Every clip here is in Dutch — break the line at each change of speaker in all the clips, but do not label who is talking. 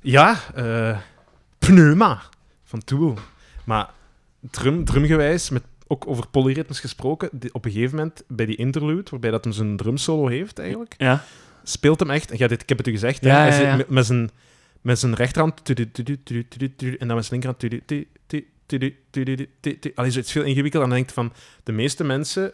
Ja, eh, Pneuma van Tool. Maar drum, drumgewijs, met, ook over polyritmes gesproken, die- op een gegeven moment bij die interlude, waarbij dat hem zijn drumsolo heeft eigenlijk,
Ja.
speelt hem echt, en ja, dit, ik heb het u gezegd, hè,
Ja,
hij
ja,
zit
ja.
met- met zijn met zijn rechterhand tudu, tudu, tudu, tudu, tudu, en dan met zijn linkerhand tudu, tu, tu, tudu, tudu, tu, tu, tu. Allee, zoiets veel ingewikkeld. En dan denkt van, de meeste mensen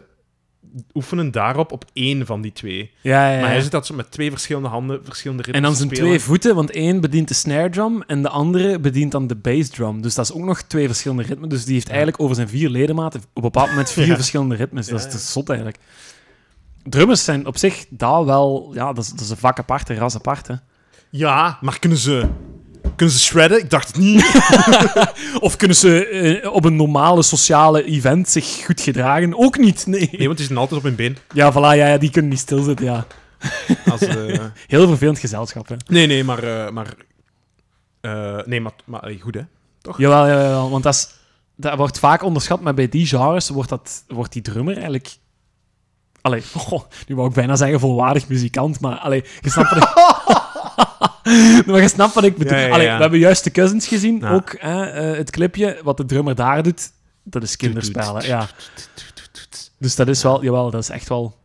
oefenen daarop op één van die twee.
Ja, ja,
Maar
ja.
hij zit dat zo met twee verschillende handen, verschillende ritmes
En dan
te
zijn
spelen.
twee voeten, want één bedient de snare drum en de andere bedient dan de bass drum. Dus dat is ook nog twee verschillende ritmen. Dus die heeft eigenlijk over zijn vier ledematen op een bepaald moment vier
Ja.
verschillende ritmes. Dat is
Ja,
te zot eigenlijk. Drummers zijn op zich daar wel... Ja, dat is, dat is een vak apart, een ras apart. Hè.
Ja, maar kunnen ze, kunnen ze shredden? Ik dacht het niet.
Of kunnen ze eh, op een normale sociale event zich goed gedragen? Ook niet, nee.
Nee, want die zijn altijd op hun been.
Ja, voilà, ja, ja, die kunnen niet stilzitten, ja.
Als, eh,
Heel vervelend gezelschap, hè.
Nee, nee, maar... eh, maar eh, nee, maar, maar eh, goed, hè.
Jawel, jawel, jawel, want dat, is, dat wordt vaak onderschat, maar bij die genres wordt, dat, wordt die drummer eigenlijk... Allee, goh, nu wou ik bijna zeggen volwaardig muzikant, maar allee, je snapt wat ik... maar je snapt wat ik bedoel.
Ja, ja, ja.
Allee, we hebben juist de Cousins gezien,
Ja.
ook hè, eh, het clipje, wat de drummer daar doet, dat is kinderspelen, ja. Dus dat is wel, jawel, dat is echt wel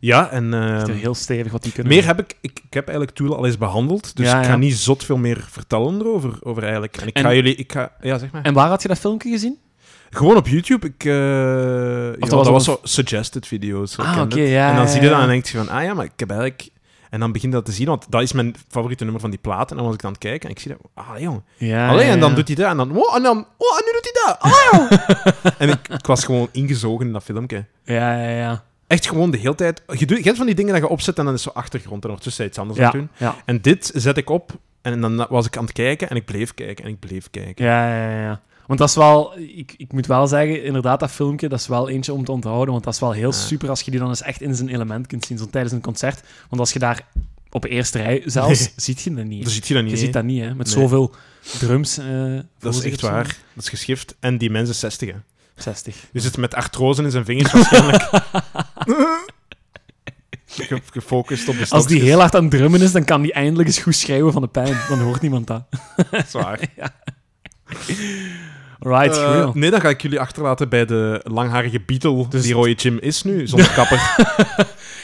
Ja, en...
echt
eh,
heel stevig wat die kunnen
meer
doen.
heb ik, ik... Ik heb eigenlijk Tool al eens behandeld, dus
Ja,
ik
ja.
ga niet zot veel meer vertellen erover over eigenlijk. En ik
En-
ga jullie... Ik ga, ja, zeg maar.
En waar had je dat filmpje gezien?
Gewoon op YouTube. Ik, eh, ja,
was
dat,
op
was,
een-
zo suggested video's. zo
Ah,
kende
oké,
het.
ja,
en dan
ja,
zie je dat
ja.
en denk je van, ah ja, maar ik heb eigenlijk... En dan begin je dat te zien, want dat is mijn favoriete nummer van die plaat. En dan was ik aan het kijken en ik zie dat, ah jong.
Ja,
Allee,
ja,
en dan
ja.
doet hij dat en dan, oh, en dan, oh, en nu doet hij dat. Ah, jong. en ik, ik was gewoon ingezogen in dat filmpje.
Ja, ja, ja.
Echt gewoon de hele tijd. Je, doet, je hebt van die dingen dat je opzet en dan is zo achtergrond en ondertussen iets anders aan het
Ja,
doen.
ja.
En dit zet ik op en dan was ik aan het kijken en ik bleef kijken en ik bleef kijken.
Ja, ja, ja, ja. Want dat is wel, ik, ik moet wel zeggen, inderdaad, dat filmpje, dat is wel eentje om te onthouden. Want dat is wel heel super als je die dan eens echt in zijn element kunt zien, zo tijdens een concert. Want als je daar op de eerste rij zelfs,
Nee.
ziet je dat niet.
Dat ziet Dus je dan niet.
je
hè?
ziet dat niet, hè? Met
Nee.
zoveel drums. eh, voor
Dat is
zich
echt
of zo.
waar. Dat is geschift. En die mensen 60. Hè.
60.
Die zitten met artrose in zijn vingers waarschijnlijk. Ge- Gefocust op de
Als die
stokjes.
heel hard aan het drummen is, dan kan die eindelijk eens goed schreeuwen van de pijn. Dan hoort niemand dat.
Dat is waar.
Right,
Eh,
real.
nee, dan ga ik jullie achterlaten bij de langharige Beatle
Dus-
die rode Jim is nu, zonder kapper.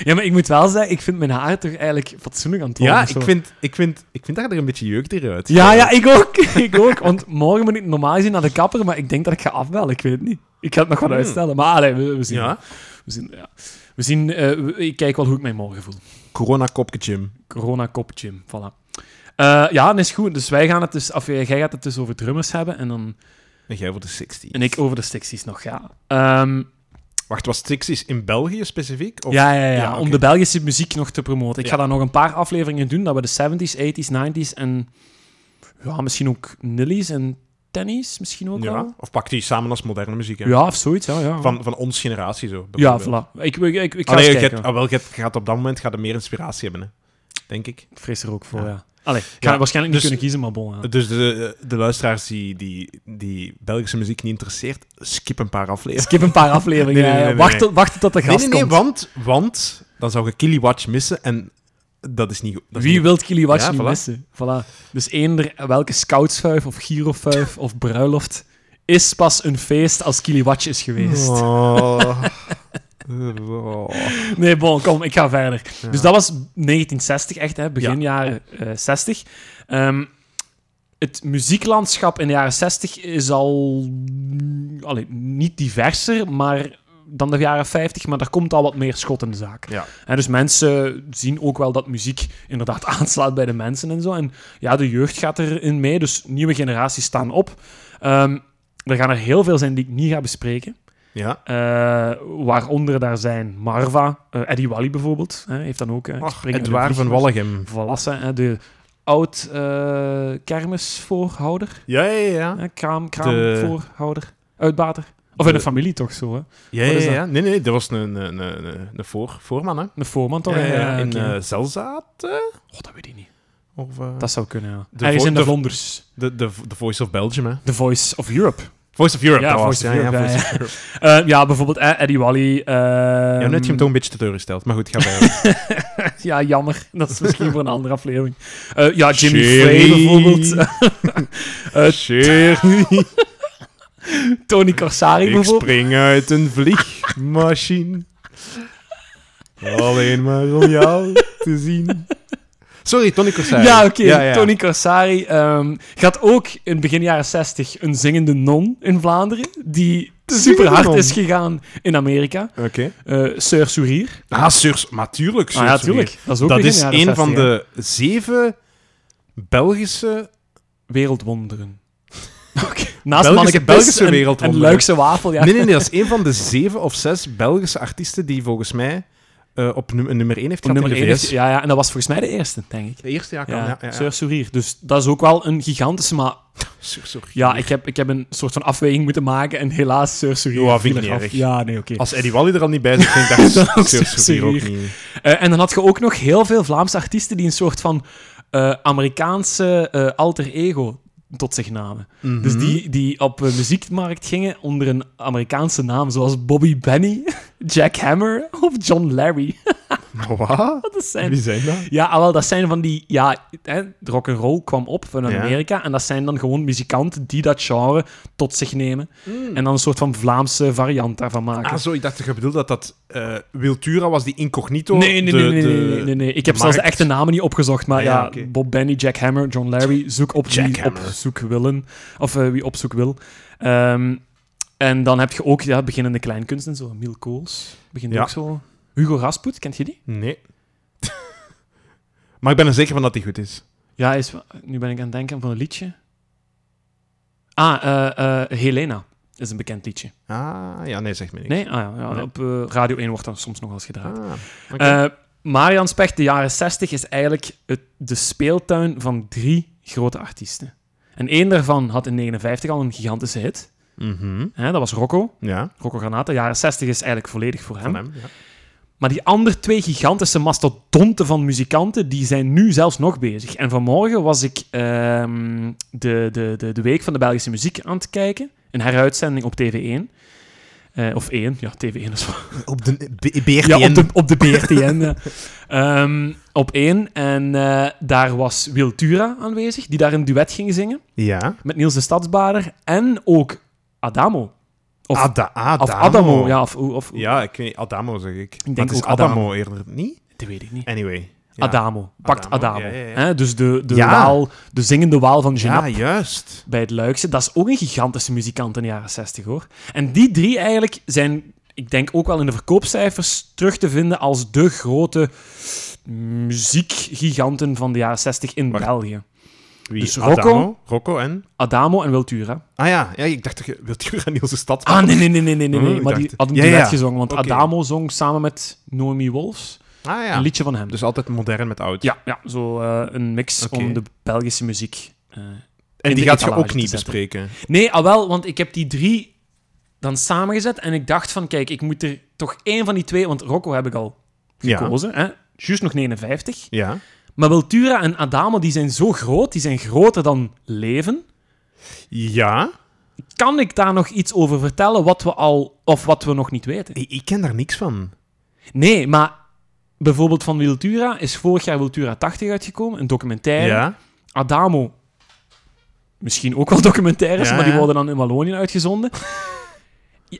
Ja, maar ik moet wel zeggen, ik vind mijn haar toch eigenlijk fatsoenlijk aan het worden.
ja,
zo.
ik vind, ik, vind, ik vind dat je er een beetje jeugd uit.
Ja, ja, ik ook. ik ook. Want morgen moet ik normaal gezien naar de kapper, maar ik denk dat ik ga afbellen. Ik weet het niet. Ik ga het nog wat
Hmm.
uitstellen. Maar allee, we, we zien.
Ja.
We zien, ja. we zien eh, we- ik kijk wel hoe ik mij morgen voel.
Corona-kopje Jim.
Corona kop gym, voilà. Eh, ja, dat is goed. Dus wij gaan het dus, of jij jij gaat het dus over drummers hebben en dan
En jij voor de 60.
en ik over de Stixies nog, ja. Ehm,
Wacht, was 60 in België specifiek? Of...
ja, ja, ja,
ja,
om
oké.
de Belgische muziek nog te promoten. Ik
Ja.
ga daar nog een paar afleveringen doen, dat we de 70s, 80s, 90s en ja, misschien ook nillies en tennies misschien ook
Ja,
wel.
Of pak die samen als moderne muziek. Hè?
Ja, of zoiets, ja. ja.
Van, van ons generatie zo.
Ja,
bijvoorbeeld.
voilà. Ik, ik, ik, ik ga
Allee,
eens
je
kijken.
hebt- ah, wel, je hebt- je gaat op dat moment gaat er meer inspiratie hebben, hè. denk ik.
Ik vrees er ook voor, ja.
Ja.
Allee, ik ga
Ja,
waarschijnlijk niet
dus-
kunnen kiezen, maar bon. ja.
Dus de, de luisteraars die, die, die Belgische muziek niet interesseert, skip een paar afleveringen.
Skip een paar afleveringen.
Nee, nee, nee,
ja, ja.
nee,
wacht,
nee.
wacht tot de
Nee, nee,
gast
nee,
komt.
want, want dan zou je Kiliwatch missen en dat is niet goed. Dat is
Wie
niet-
wilt Kili Watch
Ja,
niet
voilà.
missen? Voilà. Dus eender welke scoutsvuif of girofuif of bruiloft is pas een feest als Kili Watch is geweest.
Oh. Oh.
Nee, bon, kom, ik ga verder. Dus dat was 1960 echt, hè, begin jaren eh, 60. Ehm, het muzieklandschap in de jaren 60 is al mm, allee, niet diverser maar, dan de jaren 50, maar er komt al wat meer schot in de zaak.
Ja.
Hè, dus mensen zien ook wel dat muziek inderdaad aanslaat bij de mensen en zo. En ja, de jeugd gaat erin mee, dus nieuwe generaties staan op. Ehm, er gaan er heel veel zijn die ik niet ga bespreken.
Ja.
Eh, waaronder daar zijn Marva, eh, Eddie Wally bijvoorbeeld, hè, heeft dan ook... eh,
Ach,
Springen met
Edouard
de
van
Vliegers.
Wallegem.
Voilà, hè, de oud eh, kermisvoorhouder,
Ja, ja, ja.
hè, kraam,
De-
kraamvoorhouder, uitbater. Of in
De-
een familie toch zo, hè?
ja,
Wat
ja,
is dat?
ja. Nee, nee, dat was een, een, een, een- een voor, voorman, hè.
Een voorman toch?
Ja, ja,
hè?
ja.
Ja,
in
oké.
eh Zelzaten?
Goh, dat weet ik niet.
Of, eh,
Dat zou kunnen, ja.
De
Hij is
vo-
in de
de-
Vlonders.
de, de, de Voice of Belgium, hè.
The Voice of Europe.
Voice of Europe,
Ja,
dat was
Voice
het.
of
ja, ja,
Europe,
Voice
ja,
of Europe.
Eh, ja, bijvoorbeeld eh, Eddie Wally. ehm,
Ja, nu heb je hem toch een beetje teleurgesteld. Maar goed, ga verder.
Ja, jammer. Dat is misschien voor een andere aflevering. Eh, ja, Jimmy
Sherry.
Frey bijvoorbeeld. Eh,
Sherry,
Tony Corsari
ik
bijvoorbeeld.
spring uit een vliegmachine. Alleen maar om jou te zien. Sorry, Tony Corsari.
Ja, oké. Tony Corsari ehm, gaat ook in begin jaren 60 een zingende non in Vlaanderen. Die
zingende
super hard
non.
is gegaan in Amerika.
Oké.
Eh Sir Sourier.
Ah, Surs, maar tuurlijk,
Ah,
Surs
ja,
Surier.
tuurlijk. Dat is ook
Dat
begin
is
jaren
een
60,
van
hè.
de zeven Belgische...
Wereldwonderen. Oké. Naast
Belgische-
Manneke
Belgische
Belgische en, en
wereldwonderen.
Luikse wafel. Ja.
Nee, nee, nee, dat is een van de zeven of zes Belgische artiesten die volgens mij eh, op num- nummer één heeft
Op
gehad
nummer
in de
één
VS.
heeft- ja, ja, en dat was volgens mij de eerste, denk ik.
De eerste, ja, kan.
Ja,
Ja, ja, ja.
Sir Sourier. Dus dat is ook wel een gigantische, maar
Surs Surier.
ja, ik heb, ik heb een soort van afweging moeten maken en helaas Sir Sourier.
Ja, vind ik
viel
niet
eraf.
erg.
Ja, nee, oké.
Als Eddie Wally er al niet bij zit, vind ik
Dan
dat
is Surs
Surs Surier ook
Surier.
niet.
Eh, en dan had je ook nog heel veel Vlaamse artiesten die een soort van eh, Amerikaanse eh, alter ego tot zich namen.
Mhm.
Dus die, die op de muziekmarkt gingen onder een Amerikaanse naam, zoals Bobby Benny, Jack Hammer of John Larry.
Maar Wat?
Dat zijn
Wie zijn dat?
Ja, ah, wel, dat zijn van die... Ja, hè, rock and roll kwam op vanuit
Ja.
Amerika. En dat zijn dan gewoon muzikanten die dat genre tot zich nemen. En dan een soort van Vlaamse variant daarvan maken.
Mm. Ah, zo, ik dacht, je bedoelde dat dat eh Wiltura was die incognito.
nee, nee,
de-
nee, nee,
de-
nee, nee, nee, nee. Ik heb
de
zelfs de
markt.
echte namen niet opgezocht. Maar
Ah,
ja,
ja, oké.
Bob Benny, Jack Hammer, John Larry. Zoek op
Jack
wie op
Hammer.
zoek willen. Of eh, wie op zoek wil. Ehm, en dan heb je ook ja, beginnende kleinkunsten. Zo Miel Kools. Begint
Ja.
ook zo. Hugo Rasput, kent je die?
Nee. maar ik ben er zeker van dat die goed is.
Ja, is, nu ben ik aan het denken van een liedje. Ah, eh, eh, Helena is een bekend liedje.
Ah, ja, nee, zeg me niks.
Nee? Ah, ja, ja,
Nee.
op eh, Radio 1 wordt dat soms nog wel eens gedraaid.
Ah, oké.
Eh, Marian Specht, de jaren 60, is eigenlijk het, de speeltuin van drie grote artiesten. En één daarvan had in 59 al een gigantische hit.
Mhm.
Hè, dat was Rocco.
Ja,
Rocco Granata. Jaren 60 is eigenlijk volledig voor hem.
van hem. Ja.
Maar die andere twee gigantische mastodonten van muzikanten, die zijn nu zelfs nog bezig. En vanmorgen was ik ehm, de, de, de, de Week van de Belgische Muziek aan het kijken. Een heruitzending op TV1. Eh, of 1, ja, TV1 is wel...
Op de BRTN.
Ja, op de, op de BRTN. ja. Ehm, op 1. En eh, daar was Wiltura aanwezig, die daar een duet ging zingen.
Ja.
Met Niels de Stadsbader en ook Adamo. Of,
Ada- Adamo.
of Adamo, ja. Of, of,
Ja, ik weet niet. Adamo zeg ik. Ik
denk
het is
ook Adamo.
eerder, niet?
Dat weet ik niet.
Anyway. Ja.
Adamo. Pakt
Adamo,
Adamo.
ja, ja, ja.
Hè? Dus de, de,
Ja.
waal, de zingende waal van Genap
Ja, juist.
bij het Luikse. Dat is ook een gigantische muzikant in de jaren 60 hoor. En die drie eigenlijk zijn, ik denk ook wel in de verkoopcijfers terug te vinden als de grote muziekgiganten van de jaren 60 in
Wacht.
België.
Wie?
Dus Rocco?
Adamo, Rocco en...
Adamo en Wiltura.
Ah ja, ja ik dacht dat je wilt je aan Niels' stad
Ah, nee, nee, nee, nee, nee, nee.
Oh, ik
maar die
dacht-
had een
Ja,
duet
ja.
gezongen, want
Oké.
Adamo zong samen met Noemi Wolfs
Ah
een
ja.
liedje van hem.
Dus altijd modern met oud.
ja, ja, zo eh, een mix
Oké.
om de Belgische muziek eh,
en
in
die
de
gaat je
etalage
ook
te
niet
zetten.
bespreken.
Nee, al wel, want ik heb die drie dan samengezet en ik dacht van, kijk, ik moet er toch één van die twee, want Rocco heb ik al
Ja.
gekozen, hè? juist nog 59.
Ja.
Maar Wiltura en Adamo, die zijn zo groot, die zijn groter dan leven.
Ja.
Kan ik daar nog iets over vertellen wat we al, of wat we nog niet weten?
Ik, ik ken daar niks van.
Nee, maar bijvoorbeeld van Wiltura is vorig jaar Wiltura 80 uitgekomen, een documentaire.
Ja.
Adamo. Misschien ook wel documentaires,
Ja,
maar die
ja.
worden dan in Wallonië uitgezonden.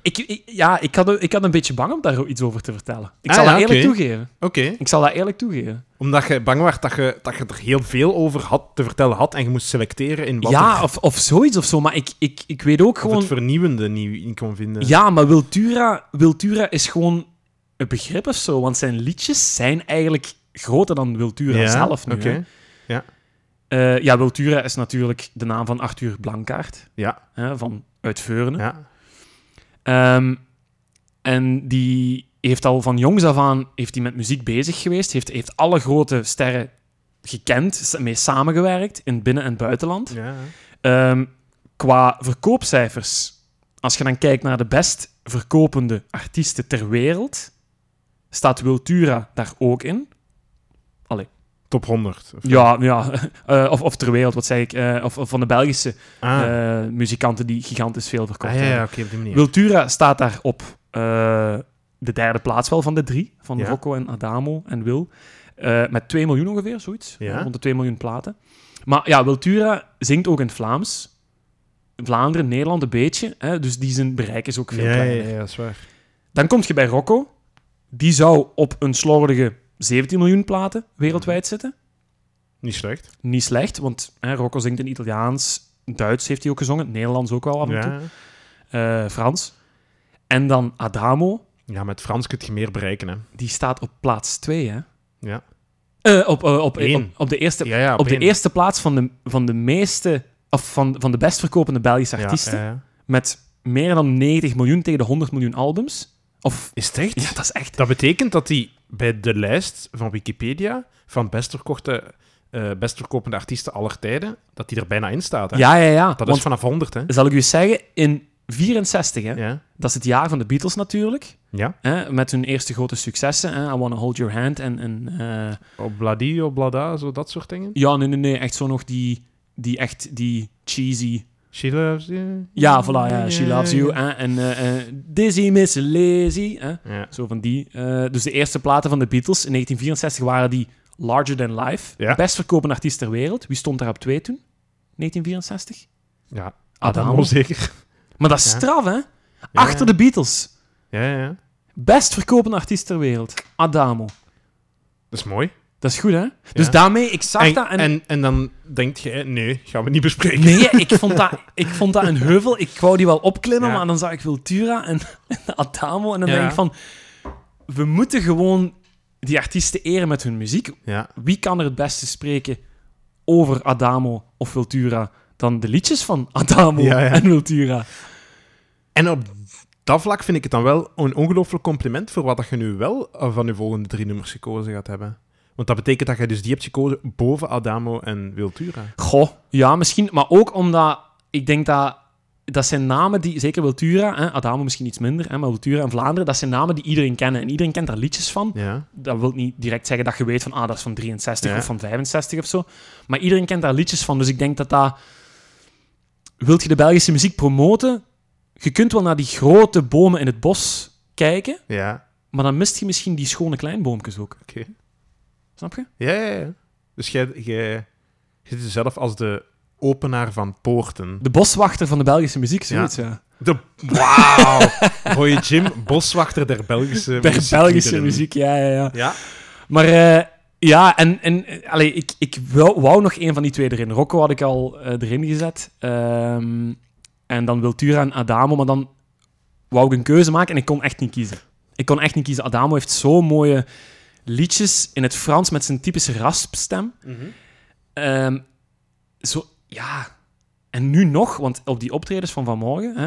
ik, ik- ja, ik had, ik had een beetje bang om daar iets over te vertellen. Ik
Ah,
zal
ja,
dat eerlijk
oké.
toegeven.
Oké.
Ik zal dat eerlijk toegeven.
Omdat je bang was dat je, dat je er heel veel over had, te vertellen had en je moest selecteren in wat
ja,
er-
of, of zoiets of zo. Maar ik, ik, ik weet ook
of
gewoon...
het vernieuwende niet in kon vinden.
Ja, maar Wiltura, Wiltura is gewoon een begrip of zo. Want zijn liedjes zijn eigenlijk groter dan Wiltura
Ja,
zelf nu.
Oké.
hè. Eh, ja, Wiltura is natuurlijk de naam van Arthur Blankaart.
Ja.
Hè, van uit Veurne.
Ja.
Ehm, en die heeft al van jongs af aan heeft die met muziek bezig geweest. Heeft, heeft alle grote sterren gekend, s- mee samengewerkt in binnen- en buitenland.
ja.
Ehm, qua verkoopcijfers, als je dan kijkt naar de best verkopende artiesten ter wereld, staat Wiltura daar ook in. Allee,
Top 100. of-
Ja, ja. Eh, of, of ter wereld, wat zeg ik. eh, of, of van de Belgische
Ah,
eh, muzikanten die gigantisch veel verkocht
ah, ja,
hebben.
ja, oké, op die manier.
Wiltura staat daar op eh, de derde plaats wel van de drie. Van
Ja.
Rocco en Adamo en Wil. Eh, met 2 miljoen ongeveer, zoiets.
Ja.
Rond de 2 miljoen platen. Maar ja, Wiltura zingt ook in het Vlaams. Vlaanderen, Nederland een beetje. Hè, dus die zijn bereik is ook veel
ja, ja,
kleiner.
ja, ja, dat is waar.
Dan kom je bij Rocco. Die zou op een slordige 17 miljoen platen
Mhm.
wereldwijd zitten.
Niet slecht.
Niet slecht, want hè, Rocco zingt in Italiaans. Duits heeft hij ook gezongen. Nederlands ook wel af en toe.
Ja.
eh, Frans. En dan Adamo.
ja, met Frans kun je meer bereiken, hè.
Die staat op plaats 2, hè?
Ja.
Eh, op, eh, op,
Eén.
op, op de eerste,
Ja, ja,
op de
één.
eerste plaats van de, van de meeste... Of van, van de best verkopende Belgische
Ja, eh.
artiesten.
ja, ja.
Met meer dan 90 miljoen tegen de 100 miljoen albums. Of...
Is het echt?
Ja, dat is echt...
Dat betekent dat hij bij de lijst van Wikipedia van best verkochte, eh, best verkopende artiesten aller tijden, dat die er bijna in staat. Hè?
Ja, ja, ja.
dat
Want,
is vanaf 100, hè?
zal ik u zeggen, in 64, hè?
Ja.
Dat is het jaar van de Beatles natuurlijk.
Ja.
Hè? Met hun eerste grote successen. Hè? I Wanna Hold Your Hand en... en eh,
Obladi, oblada, zo dat soort dingen.
Ja, nee, nee, nee. Echt zo nog die... Die echt... Die cheesy...
She loves you.
Ja, voilà, ja. She loves you. hè. En eh, eh, Dizzy Miss Lazy. hè.
Ja.
Zo van die. Eh, dus de eerste platen van de Beatles in 1964 waren die Larger Than Life.
Ja.
Best verkopende artiest ter wereld. Wie stond daar op twee toen? 1964?
ja.
Adamo.
Adamo, zeker.
Maar dat is
Ja.
straf, hè? Achter de Beatles.
Ja, ja, ja.
Best verkopende artiest ter wereld. Adamo.
Dat is mooi.
Dat is goed, hè? Dus
Ja.
daarmee, ik zag
En,
dat en...
en... En, dan denk je, nee, gaan we niet bespreken.
Nee, ik vond, dat, ik vond dat een heuvel. Ik wou die wel opklimmen,
Ja.
maar dan zag ik Wiltura en, en Adamo. En dan
Ja.
denk ik van... We moeten gewoon die artiesten eren met hun muziek.
Ja,
Wie kan er het beste spreken over Adamo of Wiltura dan de liedjes van Adamo
Ja, ja.
en Wiltura?
En op dat vlak vind ik het dan wel een ongelooflijk compliment voor wat dat je nu wel eh, van je volgende drie nummers gekozen gaat hebben. Want dat betekent dat je dus die hebt gekozen boven Adamo en Wiltura.
Goh, ja, misschien. Maar ook omdat ik denk dat... Dat zijn namen die, zeker Wiltura, hè, Adamo misschien iets minder, hè, maar Wiltura en Vlaanderen, dat zijn namen die iedereen kennen. En iedereen kent daar liedjes van.
Ja.
dat wil niet direct zeggen dat je weet van ah, dat is van 63
Ja.
of van 65 of zo. Maar iedereen kent daar liedjes van. Dus ik denk dat dat. Wilt je de Belgische muziek promoten? Je kunt wel naar die grote bomen in het bos kijken,
Ja,
maar dan mist je misschien die schone kleinboompjes ook.
oké.
Snap je?
Ja, ja, ja. Dus jij, jij zit jezelf als de openaar van poorten.
De boswachter van de Belgische muziek, zoiets, ja.
De... Wauw! Hoi Jim, boswachter der Belgische
Per
muziekliederen.
Belgische muziek, ja, ja, ja.
Ja,
Maar eh, ja, en, en eh, allee, ik, ik wou, wou nog één van die twee erin. Rocco had ik al eh, erin gezet. Ehm, en dan Wiltura en Adamo. Maar dan wou ik een keuze maken en ik kon echt niet kiezen. Ik kon echt niet kiezen. Adamo heeft zo mooie liedjes in het Frans met zijn typische raspstem.
mhm.
Ehm, zo, ja. En nu nog, want op die optredens van vanmorgen, hè,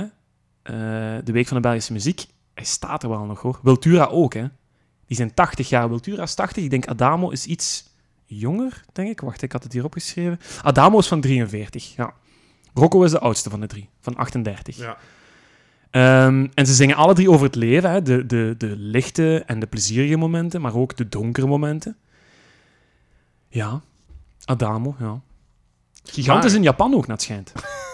eh, de Week van de Belgische Muziek, hij staat er wel nog hoor. Wiltura ook, hè. Die zijn 80 jaar. Wiltura is 80. Ik denk Adamo is iets jonger, denk ik. Wacht, ik had het hier opgeschreven. Adamo is van 43, ja. Rocco is de oudste van de drie, van 38.
Ja.
Ehm, en ze zingen alle drie over het leven. Hè? De, de, de lichte en de plezierige momenten, maar ook de donkere momenten. Ja, Adamo, ja. Gigant is
Maar-
in Japan ook, naar het schijnt.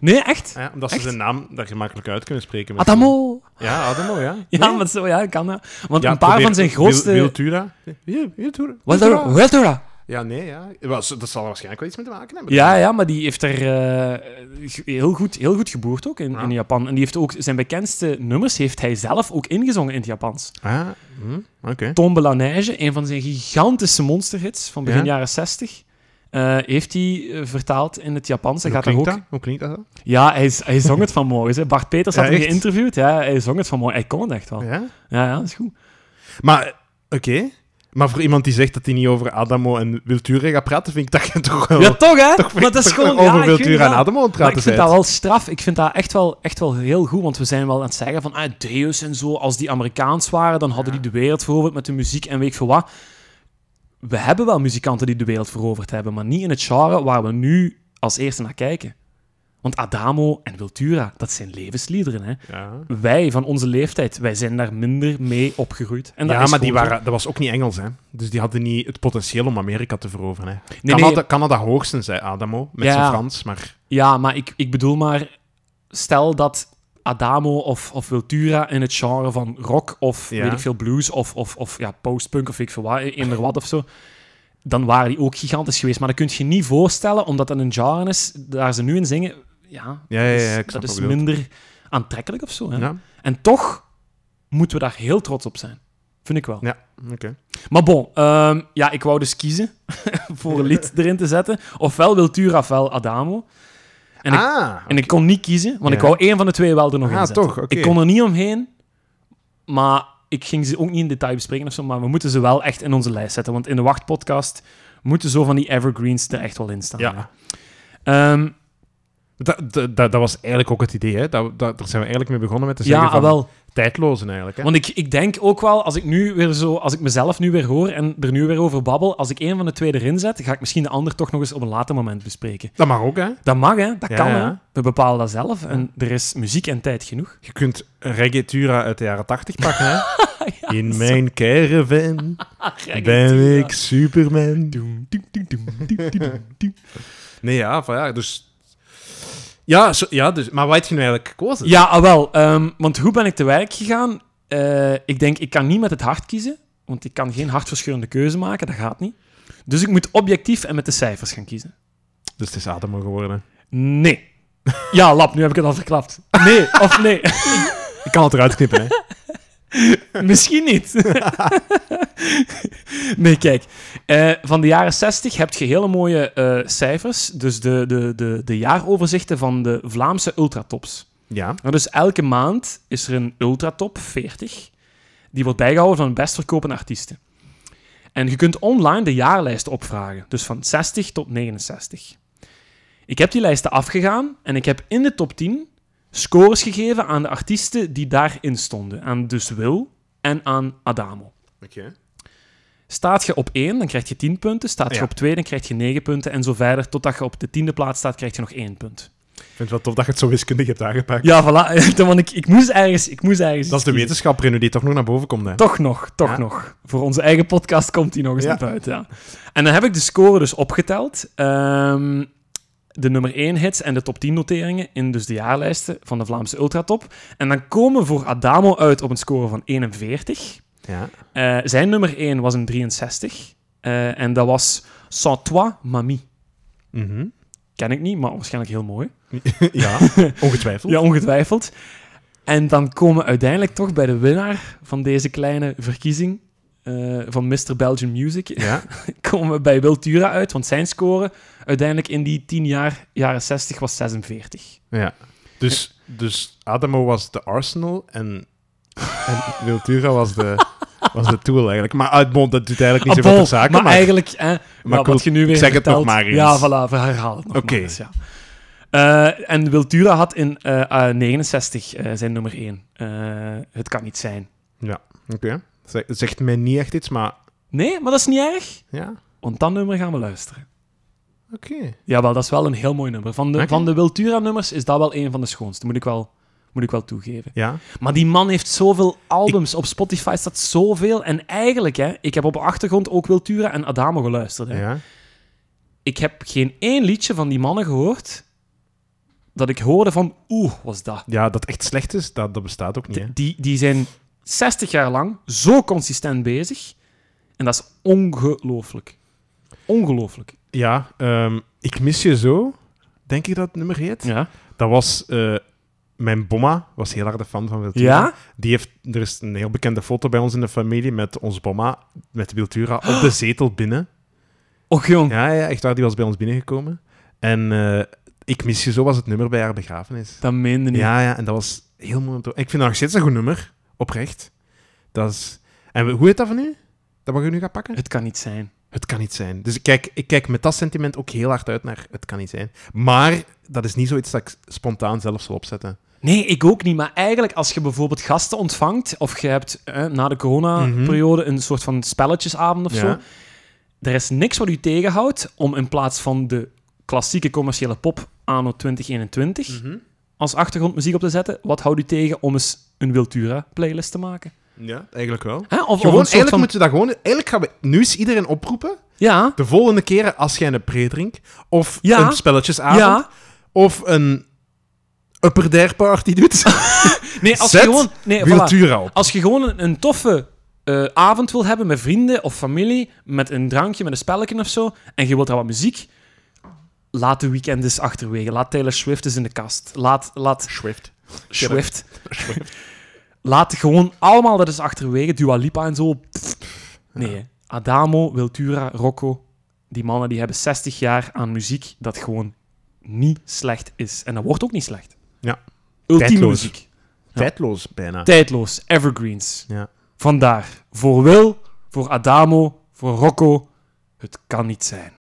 Nee, echt?
ja omdat ze
Echt?
zijn naam daar gemakkelijk uit kunnen spreken. misschien.
Adamo!
Ja, Adamo, ja.
Ja, maar zo, ja, kan dat. Want
Ja,
een paar
probeer-
van zijn
Wil-
grootste...
Wiltura. Ja, Wiltura.
Wiltura. Wiltura.
Ja, nee, ja. Wel, ze- Dat zal er waarschijnlijk wel iets mee te maken hebben.
Ja, ja, maar die heeft er eh, ge- heel, goed, heel goed geboerd ook in,
Ja.
in Japan. En die heeft ook zijn bekendste nummers heeft hij zelf ook ingezongen in het Japans.
Ah, hm, oké.
Tombe la Neige, een van zijn gigantische monsterhits van begin
Ja.
jaren 60, eh, heeft hij eh, vertaald in het Japans. Hij
Hoe
gaat daar ook...
klinkt dat? Hoe klinkt dat? dan?
Ja, hij, z- hij zong het vanmorgen. Hè. Bart Peters had
Ja,
hem
echt?
geïnterviewd. Ja, hij zong het vanmorgen. Hij kon het echt wel. Ja,
Ja?
ja, dat is goed.
Maar, eh, oké. Maar voor iemand die zegt dat hij niet over Adamo en Wiltura gaat praten, vind ik dat je toch wel...
Ja, toch hè?
Oh. toch vind
maar
ik
dat is
toch wel
gewoon... ja,
over
ik weet
Wiltura
het
en
wel.
Adamo aan het
Maar
praten
ik vind
zijn.
dat wel straf. Ik vind dat echt wel, echt wel heel goed. Want we zijn wel aan het zeggen van... Ah, Deus en zo. Als die Amerikaans waren, dan hadden
Ja.
die de wereld veroverd met de muziek en weet ik veel wat. We hebben wel muzikanten die de wereld veroverd hebben. Maar niet in het genre waar we nu als eerste naar kijken. Want Want Adamo en Wiltura, dat zijn levensliederen. Hè?
Ja,
Wij van onze leeftijd, wij zijn daar minder mee opgegroeid. En dat
ja
is
maar die
gewoon zo.
waren, dat was ook niet Engels, hè. Dus die hadden niet het potentieel om Amerika te veroveren, hè.
Nee, nee,
Canada, Canada hoogstens, zei Adamo, met
Ja.
zijn Frans, maar...
Ja, maar ik, ik bedoel maar, stel dat Adamo of, of Wiltura in het genre van rock of
Ja.
weet ik veel blues of, of, of ja, postpunk of weet ik veel wat, eender wat of zo, dan waren die ook gigantisch geweest. Maar dat kun je niet voorstellen, omdat dat een genre is, daar ze nu in zingen, ja,
Ja, ja,
dat
ja,
is-
ik snap
dat
wat
is
je bedoelt.
minder aantrekkelijk of zo. Hè?
Ja,
En toch moeten we daar heel trots op zijn. Vind ik wel.
ja oké.
Maar bon, ehm, ja, ik wou dus kiezen voor een lied erin te zetten. Ofwel Wiltura, ofwel Adamo. En ik-
ah,
En ik kon niet kiezen, want ik
Ja.
wou één van de twee wel er nog
Ah,
in zetten.
toch, oké.
Ik kon er niet omheen, maar ik ging ze ook niet in detail bespreken of zo, maar we moeten ze wel echt in onze lijst zetten, want in de wachtpodcast moeten zo van die evergreens er echt wel in staan.
ja.
ja. Ehm,
Dat, dat, dat dat was eigenlijk ook het idee, hè. Dat, dat, daar zijn we eigenlijk mee begonnen met te zeggen
ja
van...
wel.
Tijdlozen, eigenlijk, hè.
Want ik, ik denk ook wel, als ik nu weer zo, als ik mezelf nu weer hoor en er nu weer over babbel, als ik één van de twee erin zet, ga ik misschien de ander toch nog eens op een later moment bespreken.
Dat mag ook, hè.
Dat mag, hè? Dat
Ja,
kan, hè?
ja.
We bepalen dat zelf en er is muziek en tijd genoeg.
Je kunt reggaetura uit de jaren tachtig pakken, hè. In mijn caravan ben ik Superman. Nee, ja, van ja, dus... Ja, zo- ja dus, maar wat heb je nu eigenlijk gekozen?
Ja, ah, wel. ehm, want hoe ben ik te werk gegaan? Eh, ik denk, ik kan niet met het hart kiezen, want ik kan geen hartverscheurende keuze maken, dat gaat niet. Dus ik moet objectief en met de cijfers gaan kiezen.
Dus het is Adamo geworden.
Nee. Ja, lap, nu heb ik het al verklapt. Nee, of nee.
Ik kan het eruit knippen, hè.
Misschien niet. nee, kijk. eh, van de jaren 60 heb je hele mooie eh, cijfers. Dus de, de, de, de jaaroverzichten van de Vlaamse ultratops.
Ja.
Nou, dus elke maand is er een ultratop 40. Die wordt bijgehouden van de best verkopende artiesten. En je kunt online de jaarlijst opvragen. Dus van 60 tot 69. Ik heb die lijsten afgegaan en ik heb in de top 10 scores gegeven aan de artiesten die daarin stonden. Aan Dus Wil en aan Adamo.
Oké.
Staat je op 1, dan krijg je 10 punten. Staat je
Ja.
op 2, dan krijg je 9 punten. En zo verder, totdat je op de tiende plaats staat, krijg je nog 1 punt.
Ik vind het wel tof dat je het zo wiskundig hebt aangepakt.
Ja, voilà. Want ik, ik moest ergens... Ik moest ergens
Dat is de
kiezen.
wetenschapper in u die toch nog naar boven komt, hè.
Toch nog, toch
Ja.
nog. Voor onze eigen podcast komt die nog eens
Ja.
naar buiten. Ja. En dan heb ik de score dus opgeteld. Ehm, de nummer 1 hits en de top 10 noteringen in dus de jaarlijsten van de Vlaamse Ultratop. En dan komen we voor Adamo uit op een score van 41.
Ja.
Eh, zijn nummer 1 was een 63. Eh, en dat was Sans toi, mamie.
Mhm.
Ken ik niet, maar waarschijnlijk heel mooi.
ja, ongetwijfeld.
Ja, ongetwijfeld. En dan komen we uiteindelijk toch bij de winnaar van deze kleine verkiezing eh, van Mr. Belgian Music.
Ja.
komen we bij Wiltura uit, want zijn score uiteindelijk in die 10 jaar, jaren 60, was 46.
Ja. Dus, dus Adamo was de Arsenal en, en Wiltura was de, was de Tool eigenlijk. Maar uit bon, dat doet eigenlijk niet
Ah,
zoveel
bon,
ter zake.
maar,
Maar,
eigenlijk, hè,
cool,
wat- wat je nu weer
zeg het nog
vertelt-
maar eens.
Ja, voilà, herhaal het nog
Oké.
maar eens, ja. Eh, en Wiltura had in eh, eh, 69 eh, zijn nummer 1. het kan niet zijn.
Oké. Zeg- het zegt mij niet echt iets, maar
Nee, maar dat is niet erg,
ja,
want dat nummer gaan we luisteren.
oké.
Jawel, dat is wel een heel mooi nummer. Van de,
Oké.
van de Wiltura-nummers is dat wel een van de schoonste, moet ik wel, moet ik wel toegeven.
Ja.
Maar die man heeft zoveel albums. Op Spotify staat zoveel. En eigenlijk, hè, ik heb op de achtergrond ook Wiltura en Adamo geluisterd. Hè.
ja.
Ik heb geen één liedje van die mannen gehoord dat ik hoorde van... Oeh, was dat.
Ja, dat echt slecht is, dat, dat bestaat ook niet. hè.
Die, die zijn 60 jaar lang zo consistent bezig. En dat is ongelooflijk. Ongelooflijk.
Ja, ehm, ik mis je zo, denk ik dat het nummer heet.
Ja?
Dat was... eh, mijn bomma was heel harde fan van Wiltura.
Ja?
Die heeft, er is een heel bekende foto bij ons in de familie met ons bomma, met Wiltura, op de zetel binnen.
Och, jong.
Ja, ja, echt waar. Die was bij ons binnengekomen. En eh, ik mis je zo was het nummer bij haar begrafenis.
Dat meende niet.
Ja, ja, en dat was heel mooi om te... Ik vind dat nog steeds een goed nummer, oprecht. Dat is... En we- hoe heet dat van u? Dat mag je nu gaan pakken?
Het kan niet zijn.
Het kan niet zijn. Dus ik kijk, ik kijk met dat sentiment ook heel hard uit naar het kan niet zijn. Maar dat is niet zoiets dat ik spontaan zelf zal opzetten.
Nee, ik ook niet. Maar eigenlijk, als je bijvoorbeeld gasten ontvangt, of je hebt eh, na de corona-periode een soort van spelletjesavond of zo,
Mhm. Ja.
er is niks wat u tegenhoudt om in plaats van de klassieke commerciële pop anno 2021
Mhm.
als achtergrondmuziek op te zetten, wat houdt u tegen om eens een Wiltura-playlist te maken?
Ja, eigenlijk wel.
Hè? Of,
Gewoon,
of een soort
eigenlijk
van...
moeten we dat gewoon... Eigenlijk gaan we nu eens iedereen oproepen.
Ja,
De volgende keren als jij een pre drinkt. Of
Ja.
een spelletjesavond.
ja.
Of een upper dare party doet.
Nee, als je
Zet
gewoon... Nee, voilà.
Wiltura op.
Als je gewoon een, een toffe eh, avond wil hebben met vrienden of familie, met een drankje, met een spelletje of zo, en je wilt daar wat muziek, laat de weekend eens achterwege. Laat Taylor Swift eens in de kast. Laat, laat
Swift.
Swift. laat gewoon allemaal dat eens achterwege. Dua Lipa en zo. Pff, Nee, hè. Adamo, Wiltura, Rocco. Die mannen die hebben 60 jaar aan muziek dat gewoon niet slecht is. En dat wordt ook niet slecht.
Ja.
Ultieme
Tijdloos.
muziek.
Tijdloos, bijna.
Tijdloos, evergreens.
Ja.
Vandaar, voor Wil, voor Adamo, voor Rocco, het kan niet zijn.